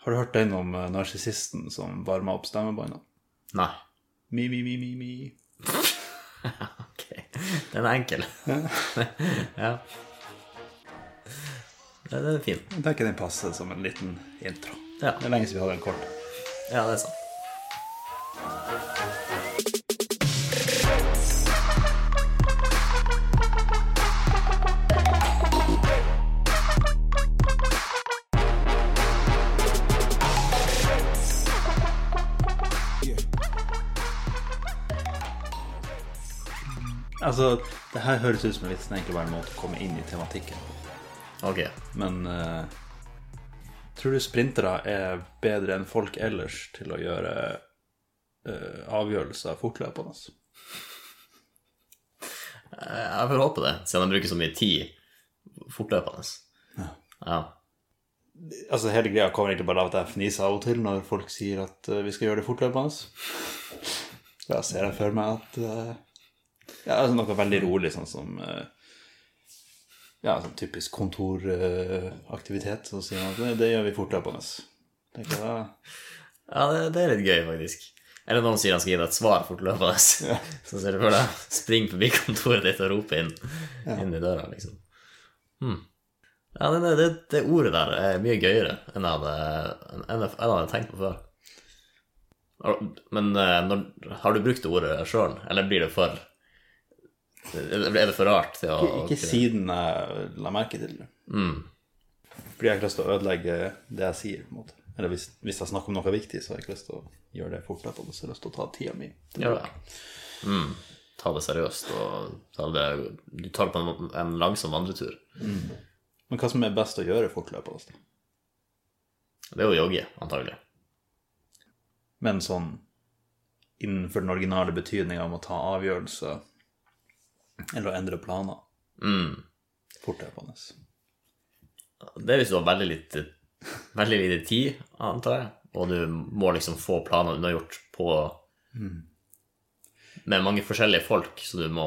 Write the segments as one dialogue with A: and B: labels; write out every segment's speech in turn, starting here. A: Har du hørt den om eh, narsissisten som varma opp stemmebåndene?
B: Nei.
A: Mi, mi, mi, mi, mi.
B: Ok. Den er enkel. ja. Den den er fin.
A: Jeg tenker den passer som en liten intro.
B: Ja.
A: Det er lenge siden vi hadde en kort.
B: Ja, det er sant.
A: Altså, det her høres ut som en litt snekkerbær måte å komme inn i tematikken på.
B: Ok.
A: Men eh, tror du sprintere er bedre enn folk ellers til å gjøre eh, avgjørelser fortløpende?
B: Jeg får håpe det, siden de bruker så mye tid fortløpende. Ja.
A: Altså, Hele greia kommer egentlig bare av at jeg fniser av og til når folk sier at eh, vi skal gjøre det fortløpende. Da ser jeg for meg at eh, ja, altså Noe veldig rolig, sånn som eh, ja, sånn typisk kontoraktivitet. så sier man at det, det gjør vi fortløpende. Tenker jeg da.
B: Ja, det, det er litt gøy, faktisk. Eller noen sier han skal gi deg et svar fortløpende. Så ser du for deg spring forbi kontoret ditt og rope inn, inn i døra, liksom. Hmm. Ja, det, det, det ordet der er mye gøyere enn jeg hadde, enn jeg, enn jeg hadde tenkt på før. Har- Men eh, når, har du brukt det ordet sjøl, eller blir det for Er det for rart til å
A: Ikke siden jeg la merke til det.
B: Mm.
A: Fordi jeg har ikke lyst til å ødelegge det jeg sier. på en måte. Eller hvis, hvis jeg snakker om noe viktig, så har jeg ikke lyst til å gjøre det fortløpende. Så jeg har lyst til å ta tida mi.
B: Ja. Mm. Ta det seriøst, og ta det, du tar det på en, en langsom vandretur.
A: Men hva som er best å gjøre fortløpende? da?
B: Det er jo jogge, antagelig.
A: Men sånn innenfor den originale betydninga om å ta avgjørelser eller å endre planer
B: Mm.
A: fortløpende.
B: Det er hvis du har veldig lite, veldig lite tid, antar jeg, og du må liksom få planer unnagjort på Mm. Med mange forskjellige folk, så du må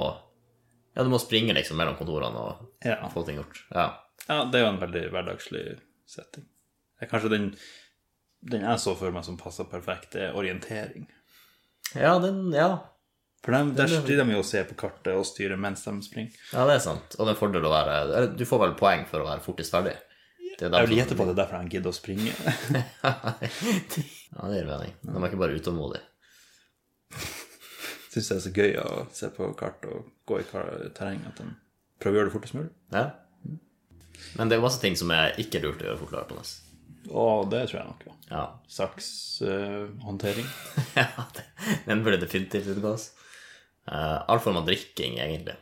B: Ja, du må springe liksom mellom kontorene og
A: Ja.
B: få ting gjort. Ja.
A: ja, det er jo en veldig hverdagslig setting. Det er kanskje den, den jeg så for meg som passer perfekt, det er orientering.
B: Ja, den, ja,
A: For dem, der styrer de jo å se på kartet og styre mens de springer.
B: ja, det er sant. Og det er en fordel å være eller, Du får vel poeng for å være fortest ferdig. Det er
A: Jeg
B: derfor-
A: vil gjette på at det er derfor de gidder å springe.
B: Ja, det gir mening. De er ikke bare utålmodige.
A: Syns det er så gøy å se på kart og gå i kar- terreng at de prøver å gjøre det fortest mulig.
B: Ja. Men det er masse ting som er ikke lurt å gjøre fortløpende.
A: Og det tror jeg nok. Ja.
B: Ja.
A: Sakshåndtering.
B: Ja, det- Den burde definitivt utgås. Uh, all form av drikking, egentlig.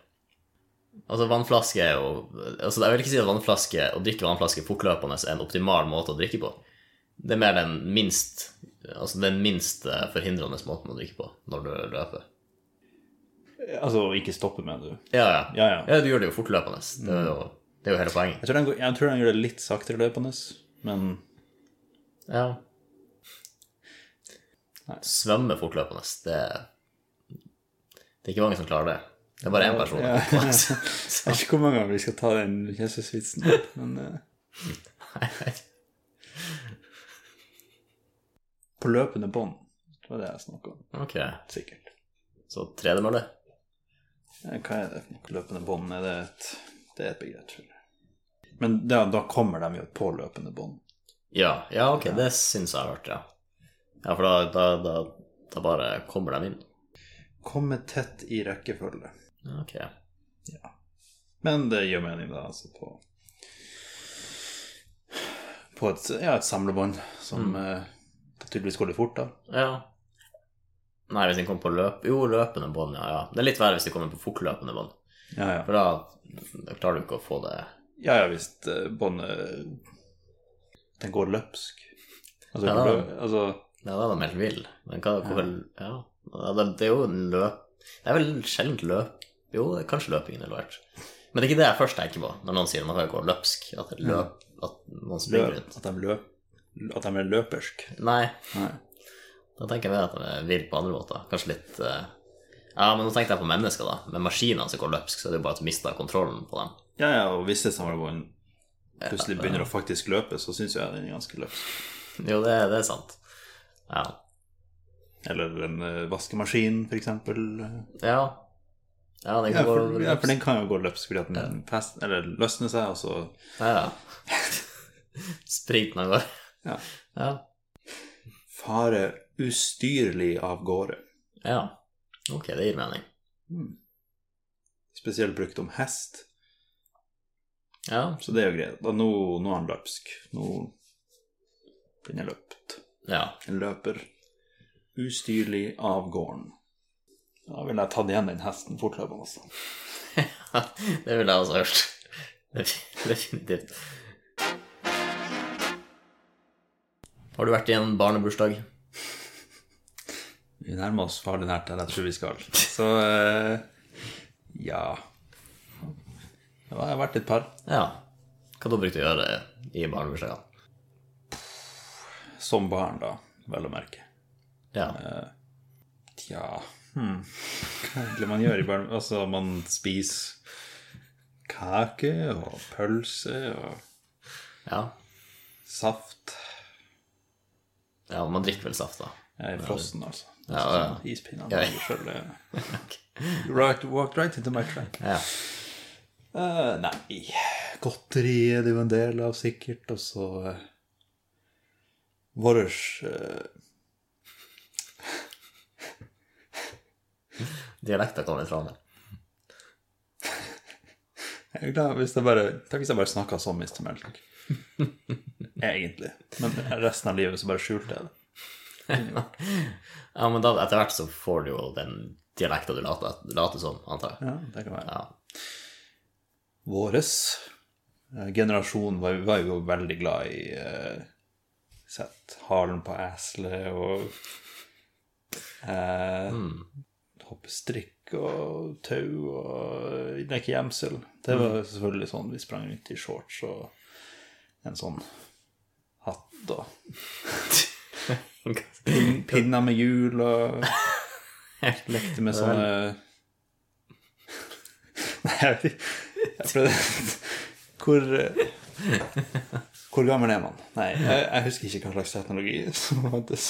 B: Altså, vannflaske er jo altså, Jeg vil ikke si at vannflaske, å drikke vannflaske fortløpende er en optimal måte å drikke på. Det er mer den minst altså den minst eh, forhindrende måten å drikke på når du løper.
A: altså, ikke stoppe med det.
B: Ja, ja.
A: Ja, ja. Mm.
B: du gjør det jo fortløpende. Det er jo, det er jo hele poenget.
A: Jeg tror, de, går- jeg tror de gjør det litt saktere løpende, men
B: Ja. Svømme fortløpende, det Det er ikke mange som klarer det. Det er bare én person.
A: Ja.
B: Så-
A: Jeg vet ikke hvor mange ganger vi skal ta den Jesusvitsen, men eh,
B: Nei.
A: på løpende bånd det var det jeg snakka om.
B: Ok,
A: Sikkert.
B: så tredemølle.
A: Ja, Hva er det for noe? Løpende bånd? Er det et, det er et begrep, tror jeg. Men da, da kommer de jo på løpende bånd.
B: Ja, ja, ok, det syns jeg har vært, ja. Ja, for da, da, da, da bare kommer de inn.
A: Komme tett i rekkefølge.
B: Ja, Ok.
A: Men det gir mening, da, altså på På et, ja, et samlebånd som eh, tydeligvis går litt fort, da.
B: Ja. Nei, hvis den kommer på løp... Jo, løpende bånd, ja, ja. Det er litt verre hvis de kommer på fortløpende bånd.
A: Ja, ja.
B: For da, da klarer du ikke å få det
A: Ja, ja, hvis eh, båndet Den går løpsk. Altså,
B: Ja,
A: lø,
B: da-
A: altså
B: Ja, da er de helt vill. Men hva, hvorfor Ja. ja det, det er jo en løp Det er vel sjeldent løp Jo, det er kanskje løping involvert. Men det er ikke det jeg først tenker på når noen sier man kan gå løpsk. At, det er løp, at noen springer
A: løp,
B: rundt.
A: at, de løp, at de er løpersk.
B: Nei,
A: Nei.
B: Da tenker jeg mer at de er vill på andre måter. Kanskje litt eh, Ja, men nå tenkte jeg på mennesker, da. Med maskiner som går løpsk, så er det jo bare at du mister kontrollen på dem.
A: Ja, ja, og hvis et samlebånd plutselig begynner å faktisk løpe, så syns jeg den er ganske løpsk.
B: Jo, det, det er sant. Ja.
A: Eller en eh, vaskemaskin, for eksempel.
B: Ja, ja den
A: Ja
B: kan
A: for,
B: gå
A: ja, for den kan jo gå løpsk fordi at den fest, eller løsner seg, og så
B: Ja, ja. Spriten av gårde.
A: Ja.
B: ja.
A: farer ustyrlig av gårde.
B: Ja. Ok, det gir mening.
A: Spesielt brukt om hest,
B: Ja.
A: så det er jo greit. Da nå, nå er han løpsk. Nå den er løpt.
B: ja.
A: En løper ustyrlig av gården. Da ville jeg tatt igjen den hesten fortløpende. altså.
B: det ville jeg også hørt. Def- Definitivt. Har du vært i en barnebursdag?
A: Vi nærmer oss farlig nært der jeg tror vi skal. Så eh, ja. Det har vært et par.
B: Ja. Hva da brukte du å gjøre i barnebursdagene?
A: Som barn, da, vel å merke.
B: Ja.
A: Tja hmm. Hva er det egentlig man gjør i barn... Altså, man spiser kake og pølse og
B: ja.
A: saft.
B: Ja, man drikker vel saft, da.
A: Jeg er frossen, altså.
B: Ja, ja.
A: Sånn Ispinnene.
B: Ja.
A: Ja. Selv, eh. right, walked right into my track.
B: Ja.
A: Eh, nei Godteri er det jo en del av, sikkert. Og så uh, Våres eh,
B: Dialekta kom litt fram der.
A: Jeg er glad hvis jeg bare Tenk hvis jeg bare snakka sånn hvis til melk. Egentlig. Men resten av livet så bare skjulte jeg det.
B: Ja, men da, etter hvert så får du jo den dialekta du later, later som, antar jeg.
A: Ja, det kan være.
B: Ja.
A: Våres eh, generasjon var, var jo veldig glad i eh, Sett halen på esle og eh, hoppe strikk og tau og leke gjemsel. Det var selvfølgelig sånn vi sprang rundt i shorts og en sånn hatt og Pin- Pinna med hjul og lekte med sånne Nei, jeg vet ikke. Jeg prøvde Hvor Hvor gammel er man? Nei, jeg, jeg husker ikke hva slags teknologi som fantes.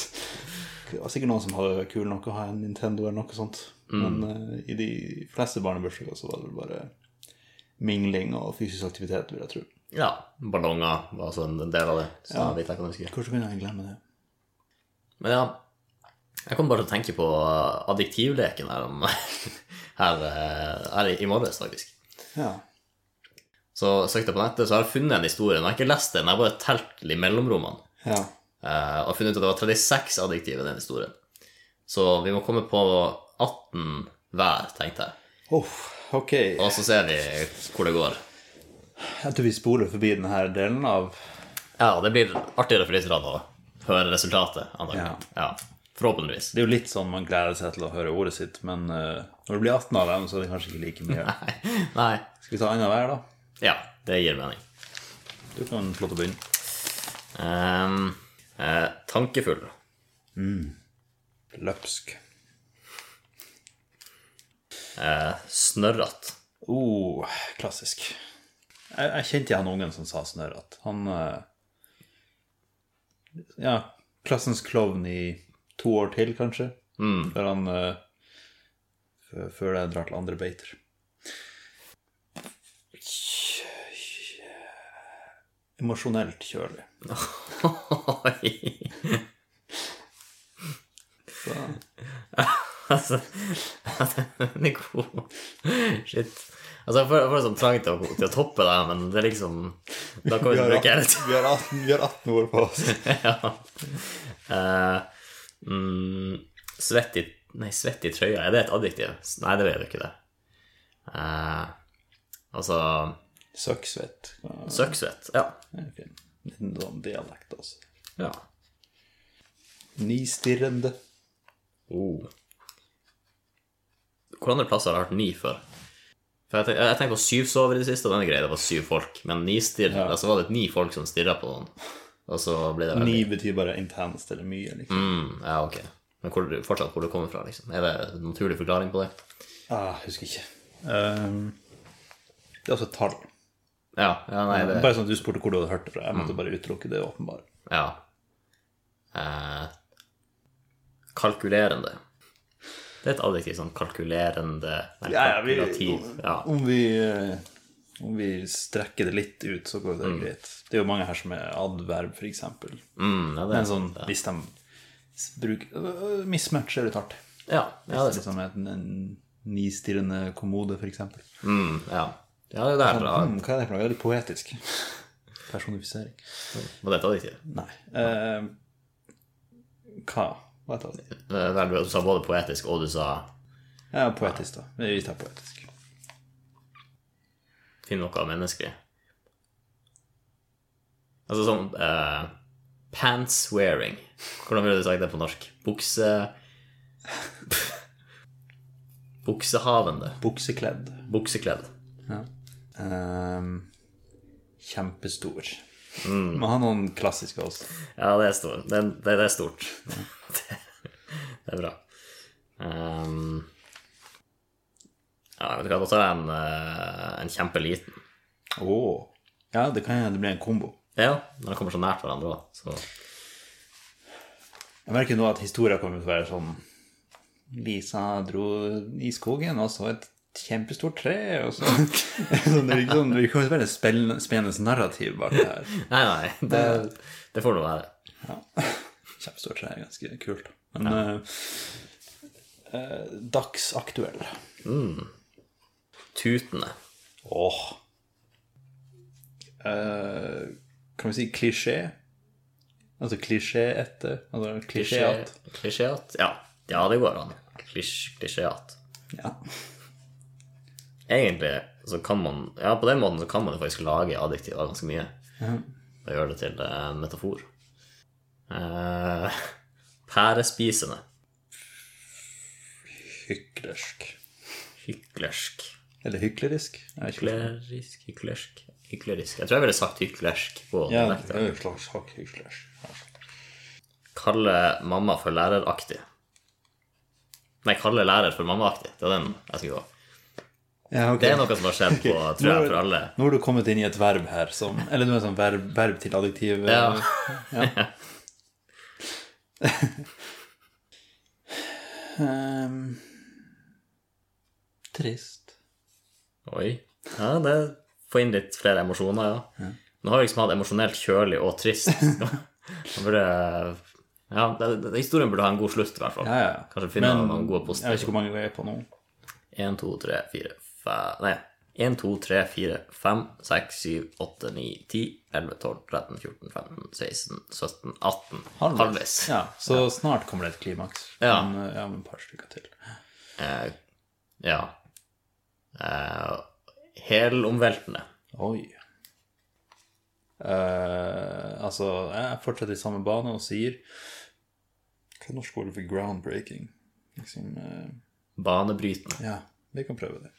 A: Det var sikkert noen som hadde kul nok å ha en Nintendo eller noe sånt. Men eh, i de fleste barnebursdager så var det vel bare mingling og fysisk aktivitet, vil jeg tro.
B: ja. Ballonger var også en del av det. Så ja. vidt jeg kan huske.
A: Hvordan kunne jeg glemme det?
B: Men ja, jeg kom bare til å tenke på eh, adjektivleken her, om, her, eh, her i- i morges, faktisk.
A: Ja.
B: Så søkte jeg på nettet, så har jeg funnet en historie. Men jeg har ikke lest den, jeg har bare telt i mellomrommene.
A: ja.
B: eh, Og funnet ut at det var 36 adjektiv i den historien. Så vi må komme på 18 hver, tenkte jeg.
A: Uff, ok.
B: Og så ser vi hvor det går.
A: Jeg tror vi spoler forbi denne delen av
B: Ja, det blir artigere for lytterne å høre resultatet, antakelig. Ja. Forhåpentligvis.
A: Det er jo litt sånn man gleder seg til å høre ordet sitt, men eh, når det blir 18 av dem, så er det kanskje ikke like mye.
B: Nei.
A: Skal vi ta annet hver, da?
B: Ja, det gir mening.
A: Du kan få lov til å begynne.
B: Ehm, eh, tankefull.
A: Løpsk.
B: Eh, snørrete.
A: Oh, klassisk. Jeg, jeg kjente han ungen som sa snørret. Han eh, Ja, klassens klovn i to år til, kanskje. Før han eh, før- Før det drar til andre beiter. Emosjonelt kjølig.
B: Oi.
A: Så,
B: Altså, den er god. Shit. Altså, jeg får, jeg får liksom trang til å, til å toppe det, men det er liksom Da kan vi ikke bruke hele tiden.
A: vi har 18, vi har 18 ord på oss.
B: Ja. Eh, mm, svett i Nei, svett i trøya, er det et adjektiv? Nei, det er jo ikke det. Eh, altså
A: Søkksvett.
B: Søkksvett. Ja.
A: Liten sånn dialekt, altså.
B: ja.
A: Nistirrende.
B: Oh. Hvor andre plasser har jeg hørt ni før? For jeg, tenk, jeg tenkte på syv sover i det siste, og den er grei, det var syv folk. Men ni stirr, altså var det ni folk som stirra på noen, og så ble det veldig
A: Ni betyr bare intenst eller mye, liksom.
B: mm, Ja, ok. Men hvor, fortsatt hvor det kommer fra, liksom. Er det en naturlig forklaring på det?
A: Ah, husker ikke. Ehm, det er altså et tall.
B: Ja. ja nei, det Mm.
A: Bare sånn at du spurte hvor du hadde hørt det fra. Jeg måtte bare utelukke det åpenbare.
B: Ja. eh, kalkulerende. Det er et adjektiv sånn kalkulerende eller
A: Ja, ja, vi-
B: kalkulativ. Ja.
A: Om vi, eh, om vi strekker det litt ut, så går det greit. Det er jo mange her som er adverb, f.eks.
B: Mm, ja, det,
A: Men sånn, hvis de s- bruker øh, Mismatch er litt hardt.
B: ja, ja, det,
A: Litt som en, en nistirrende kommode, f.eks.
B: mm, ja. ja, det er bra.
A: Mm, hva er det for noe? Veldig poetisk. Personifisering.
B: Var det et adjektiv?
A: Nei. Eh, hva? Hva heter det?
B: Eh, Vel, du sa både poetisk og du sa
A: Ja, poetisk, da. Vi tar poetisk.
B: Finn noe menneskelig. Altså sånn eh, Pants wearing. Hvordan ville du sagt det på norsk? Bukse... Buksehavende.
A: Buksekledd.
B: Buksekledd.
A: Ehm, kjempestor. Må ha noen klassiske også.
B: Ja, det er stort. Det, er- det, det er stort. det, det er bra. Ehm, ja, vet du hva, da tar jeg en, eh, en kjempeliten.
A: Åh. Ja, det kan hende det blir en kombo.
B: Ja, når de kommer så nært hverandre òg, så
A: Jeg merker nå at historien kommer til å være sånn Lisa dro i skogen og så et kjempestort tre, og så så Det er ikke sånn, det kommer til å være et spennende, spennende narrativ bak det her.
B: Nei, nei, det, det får nå være.
A: Kjempestort tre er ganske kult. Men eh, eh, dagsaktuell.
B: Tutende.
A: Åh. Eh, kan vi si klisjé? Altså klisjé etter? Altså klisjéat?
B: Klisjéat? Ja. ja, det går an. Klisj, klisjéat.
A: Ja.
B: Egentlig så kan man Ja, på den måten så kan man jo faktisk lage adjektiver ganske mye. Og gjøre det til eh, en metafor. Eh, pærespisende.
A: Hyklersk.
B: Hyklersk.
A: Eller hyklerisk? Jeg vet ikke.
B: Hyklerisk, hyklersk Hyklerisk. Jeg tror jeg ville sagt hyklersk på
A: Ja,
B: dialekten.
A: det er jo et slags hyklersk.
B: Kalle mamma for læreraktig. Nei, kalle lærer for mammaaktig. Det var den jeg skulle gå.
A: Ja, ok.
B: Det er noe som har skjedd på, tror jeg, for alle.
A: Nå har du kommet inn i et verb her som Eller du er sånn verb, verb til adjektiv. eh,
B: Ja.
A: ehm, trist.
B: Oi. Ja, det får inn litt flere emosjoner, ja. Nå har vi liksom hatt emosjonelt kjølig og trist. Man burde Ja, det, det, historien burde ha en god slutt, i hvert fall.
A: Ja, ja.
B: Kanskje finne
A: Men-
B: noen gode
A: Jeg vet
B: poster.
A: ikke hvor mange vi er på nå.
B: Én, to, tre, fire, fem Nei. 1, 2, 3, 4, 5, 6, 7, 8, 9, 10, 11, 12, 13, 14, 15, 16, 17, 18. Halvveis.
A: Ja, så snart kommer det et klimaks.
B: Ja.
A: Men, eh, ja, men et par stykker til.
B: Eh, ja. Eh, Helomveltende.
A: Oi. Eh, altså, jeg fortsetter i samme bane og sier Hva er norsk ord for groundbreaking? Liksom, eh,
B: Banebrytende.
A: ja, vi kan prøve det.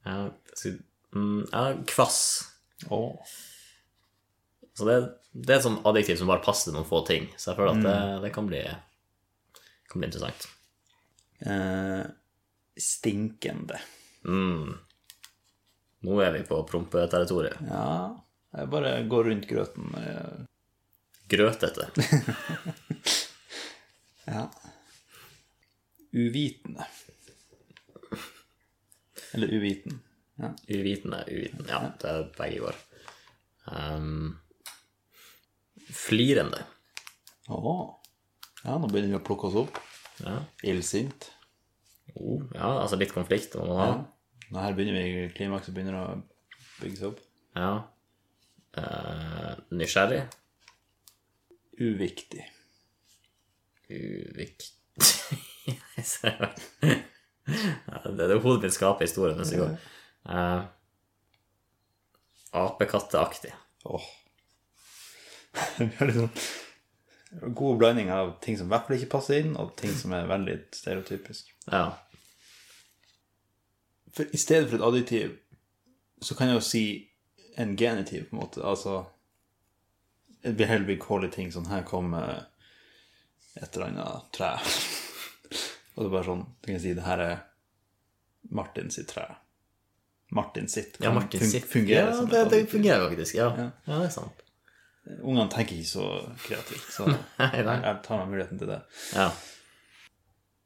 B: Ja, så- mm, ja, kvass.
A: Åh.
B: Så det, det er et sånt adjektiv som bare passer til noen få ting. Så jeg føler at det, det kan, bli, kan bli interessant.
A: Eh, stinkende.
B: Mm. Nå er vi på prompeterritoriet.
A: Ja, jeg bare går rundt grøten. eh,
B: Grøtete.
A: Uvitende. Eller uviten. Ja.
B: Uvitende, uvitende. Ja, det er begge våre. Um, flirende.
A: Åh. Ja, nå begynner vi å plukke oss opp.
B: Ja.
A: Illsint.
B: Oh, ja, altså litt konflikt må man ha.
A: Nå her begynner vi i klimakset begynner å bygge seg opp.
B: Ja. Eh, nysgjerrig.
A: Uviktig.
B: Uviktig Jeg ser det. Ja, Det er det hodet mitt skaper historien mens det går. Eh, Apekatteaktig.
A: Åh. Vi har liksom god blanding av ting som i hvert fall ikke passer inn, og ting som er veldig stereotypisk.
B: Ja.
A: For i stedet for et adjektiv, så kan jeg jo si en genitiv, på en måte. Altså Jeg vil heller vil calle ting sånn Her kommer et eller annet tre. Og det er bare sånn Du kan jeg si det her er Martin sitt tre. Martin sitt
B: ja, Martin sitt.
A: fungere
B: ja,
A: som et
B: det, det
A: adjektiv.
B: fungerer faktisk. Ja. ja, det er sant.
A: Ungene tenker ikke så kreativt, så
B: Nei, nei.
A: jeg tar meg muligheten til det.
B: Ja.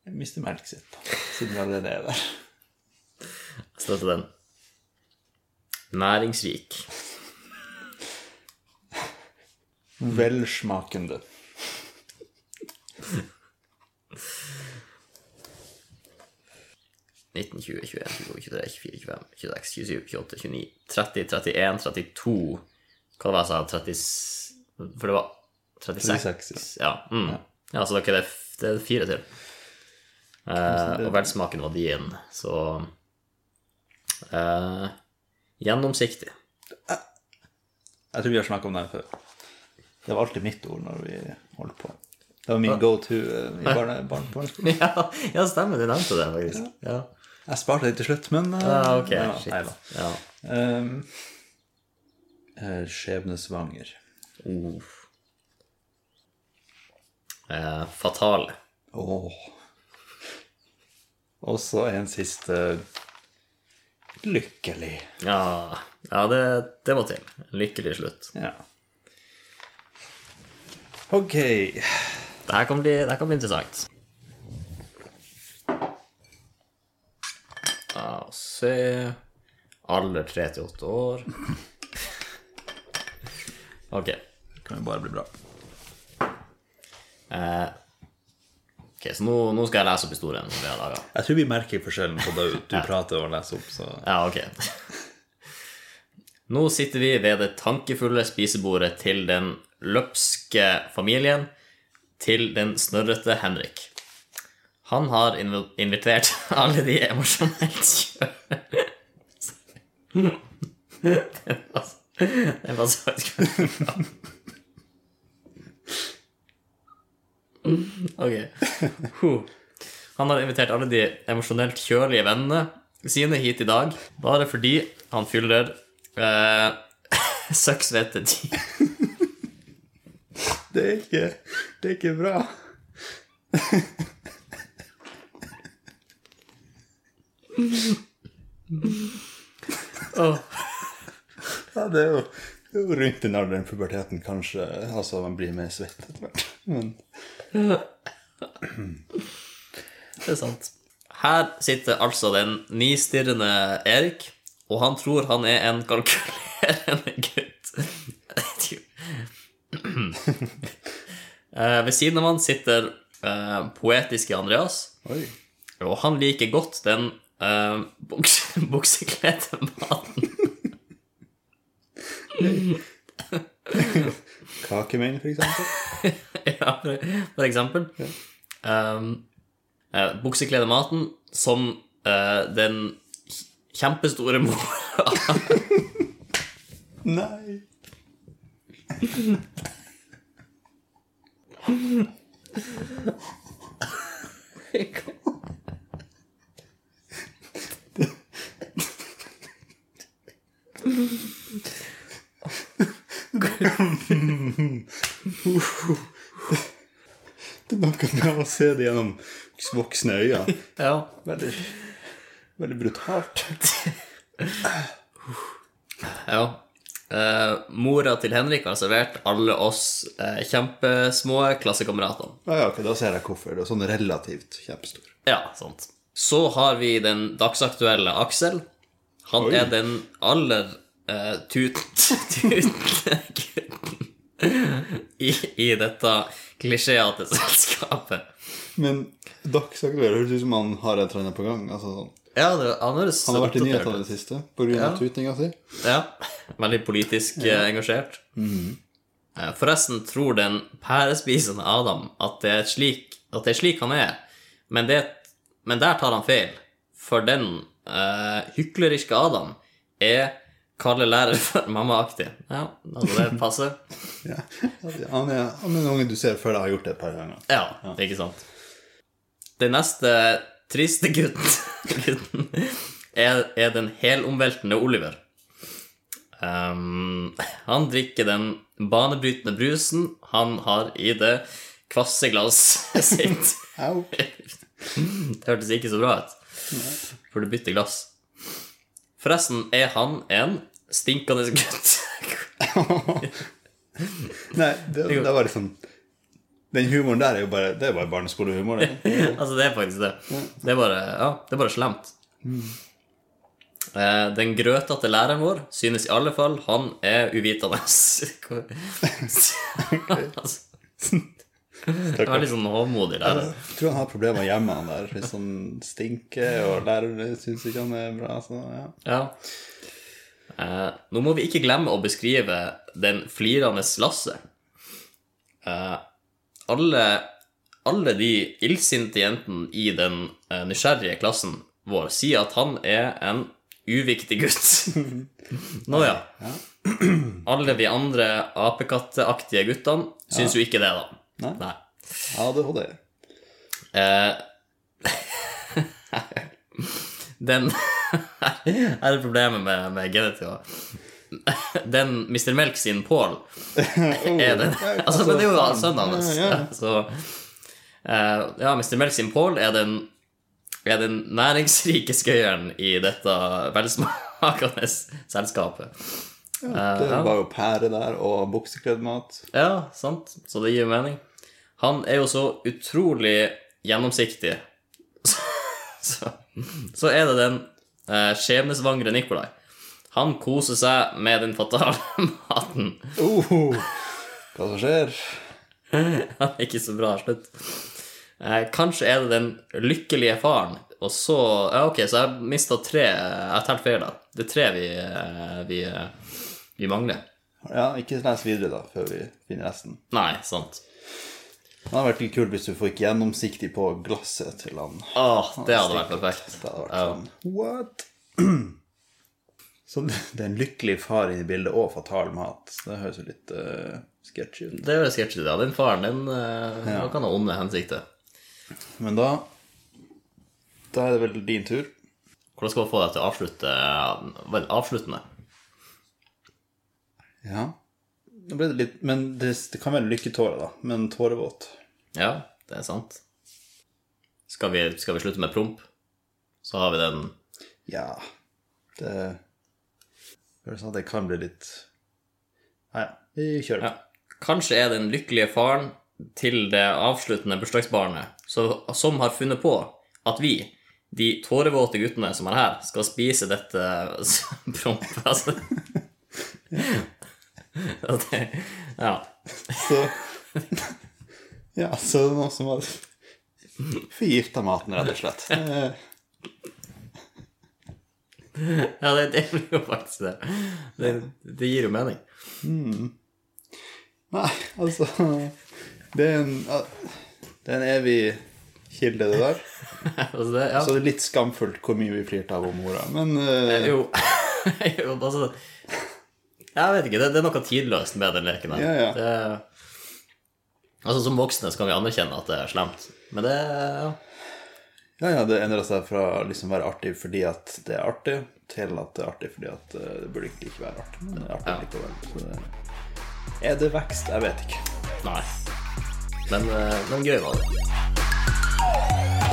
A: Jeg mister melk sitt, da, siden vi allerede er der.
B: Støtter den. Næringsrik.
A: Velsmakende.
B: nitten, 20, 21, 22, 23, 24, 25, 26, 27, 28, 29, 30, 31, 32 Hva det var jeg sa? 30, for det var 36?
A: 36,
B: ja. mm. ja, så dere, det, er- det er fire til. Eh, og velsmaken var din, så eh, Gjennomsiktig.
A: Jeg tror vi har snakket om det her før. Det var alltid mitt ord når vi holdt på. Det var min go-to eh, i barne, barne, barneskolen.
B: Ja, ja, stemmer, du nevnte det faktisk. Ja,
A: Jeg sparte det til slutt, men eh,
B: ah, ok,
A: ja,
B: shit.
A: nei da.
B: Ja.
A: Ehm, eh, Skjebnesvanger.
B: Uff. Eh, fatale.
A: Åh. Og så en siste lykkelig.
B: Ja, ja det, det må til. Lykkelig slutt.
A: Ja. Ok.
B: Det her kan bli, det her kan bli interessant. Ja, og se Alder 3 til 8 år. Ok.
A: Det kan jo bare bli bra.
B: Eh, ok, så nå, nå skal jeg lese opp historien som vi har laga.
A: Jeg tror vi merker forskjellen på det du prater og leser opp, så
B: Ja, ok. Nå sitter vi ved det tankefulle spisebordet til den løpske familien, til den snørrete Henrik. Han har inv invitert alle de emosjonelt kjøre... Den var så- den var så Ok. Huh. Han har invitert alle de emosjonelt kjølige vennene sine hit i dag, bare fordi han fyller eh, søksvette ti.
A: Det er ikke, det er ikke bra.
B: Åh,
A: Ja, det er jo det er jo rundt den alderen puberteten kanskje Altså, man blir mer svett etter hvert. Men
B: det er sant. Her sitter altså den nistirrende Erik, og han tror han er en kalkulerende gutt. Eh, ved siden av han sitter eh, poetiske Andreas,
A: oi.
B: Og han liker godt den uh, buks buksekledte mannen.
A: Kakemenn, for eksempel.
B: ja, for, for eksempel. Um, eh, buksekledde maten som eh, den kjempestore mora
A: Nei. Det er noe med å se det gjennom voksne øyne.
B: ja.
A: Veldig, veldig brutalt.
B: ja. Eh, mora til Henrik har servert alle oss eh, kjempesmå klassekameratene.
A: Ja, ja, ok, Da ser jeg hvorfor. Det er sånn relativt kjempestor.
B: Ja, sant. Så har vi den dagsaktuelle Aksel. Han
A: Oi.
B: er den aller uh, tutende gutten i, i dette klisjeete selskapet.
A: Men dagsaktuell høres ut som han har et eller annet på gang. altså sånn.
B: Ja, det, han høres
A: Han har vært i
B: oppdatert
A: nyhetene i
B: ut.
A: det siste pga.
B: Ja.
A: av tutinga si.
B: Ja, Veldig politisk eh, engasjert.
A: Mhm.
B: Eh, Forresten tror den pærespisende Adam at det, er slik, at det er slik han er, men, det, men der tar han feil. For den eh, hykleriske Adam er Kalle lærer for mamma-aktig. Ja, altså det passer.
A: Ja. Han, er, han er en unge du ser før jeg har gjort det et par ganger.
B: Ja, ikke sant. Den neste triste gutten, gutten er, er den helomveltende Oliver. Ehm, han drikker den banebrytende brusen han har i det kvasse glasset sitt.
A: Au.
B: Det hørtes ikke så bra ut. For du bytter glass. Forresten er han en stinkende gutt.
A: Nei, det, det var liksom Den humoren der er jo bare Det er bare barneskolehumor. det.
B: altså, det er faktisk det. Det er bare, ja, det er bare slemt. Eh, Den grøtete læreren vår synes i alle fall han er uvitende. Hvor- altså, det var litt sånn håmodig lærer.
A: Jeg tror han har problemer hjemme, han der. Hvis han stinker, og læreren syns ikke han er bra. Så, ja.
B: Ja. Eh, nå må vi ikke glemme å beskrive den flirende Lasse. Eh, alle, alle de illsinte jentene i den eh, nysgjerrige klassen vår sier at han er en uviktig gutt. nå ja. Alle vi andre apekatteaktige guttene syns jo ikke det, da.
A: Nei.
B: Nei.
A: ADHD.
B: Eh, den Her er problemet med, med genitiva. Den Mr. Melk sin Pål er den Altså, men det er jo sønnen hans.
A: Oh, Ja, ja.
B: Så eh, Ja, Mr. Melk sin Pål er den er den næringsrike skøyeren i dette velsmakende selskapet. Eh,
A: Det var jo pære der, og buksekledd mat.
B: Ja, sant. Så det gir jo mening. Han er jo så utrolig gjennomsiktig. Så, så er det den eh, skjebnesvangre Nikolai. Han koser seg med den fatale maten.
A: Uh, hva som skjer?
B: Han er ikke så bra slutt. Eh, kanskje er det den lykkelige faren, og så Ja, ok, så jeg mista tre. Jeg telte feil, da. Det er tre vi, eh, vi, eh, vi mangler.
A: Ja, ikke les videre, da, før vi finner resten.
B: Nei, sant.
A: Det hadde vært litt kult hvis du fikk gjennomsiktig på glasset til han.
B: Åh, det hadde vært perfekt.
A: Det hadde vært sånn What? Så det det er en lykkelig far i bildet og fatal mat. Så Det høres jo litt uh, sketchy ut.
B: Det er jo sketsjete, ja. Den faren, den eh, han kan ha onde hensikter.
A: Men da Da er det vel din tur.
B: Hvordan skal man få deg til å avslutte eh, Vel, avsluttende.
A: Ja. Nå ble det litt Men det, det kan være lykketårer, da. Men tårevåt.
B: Ja, det er sant. Skal vi, skal vi slutte med promp? Så har vi den
A: Ja. Det Høres ut som det kan bli litt Nei, ja. Vi kjører.
B: ja. Kanskje er den lykkelige faren til det avsluttende bursdagsbarnet så- som har funnet på at vi, de tårevåte guttene som er her, skal spise dette promp. Altså. At det- ja.
A: Så Ja, så det er noen som har forgifta maten, rett og slett. Eh,
B: ja, det det blir jo faktisk det. Det, det gir jo mening.
A: Nei, altså Det er en, det er en evig kilde, det der.
B: Altså, det, ja.
A: Så det er litt skamfullt hvor mye vi flirte av om mora. Men eh,
B: Jo, jo altså Jeg vet ikke, det, det er noe tidløst med den leken her.
A: Ja, ja.
B: Det, altså, som voksne så kan vi anerkjenne at det er slemt, men det ja.
A: ja, ja, det endra seg fra å liksom være artig fordi at det er artig, til at det er artig fordi at eh, det burde ikke ikke være artig. Men det er artig
B: Ja.
A: likevel. Så det, er det vekst? Jeg vet ikke.
B: Nei. Men, eh, men gøy var det.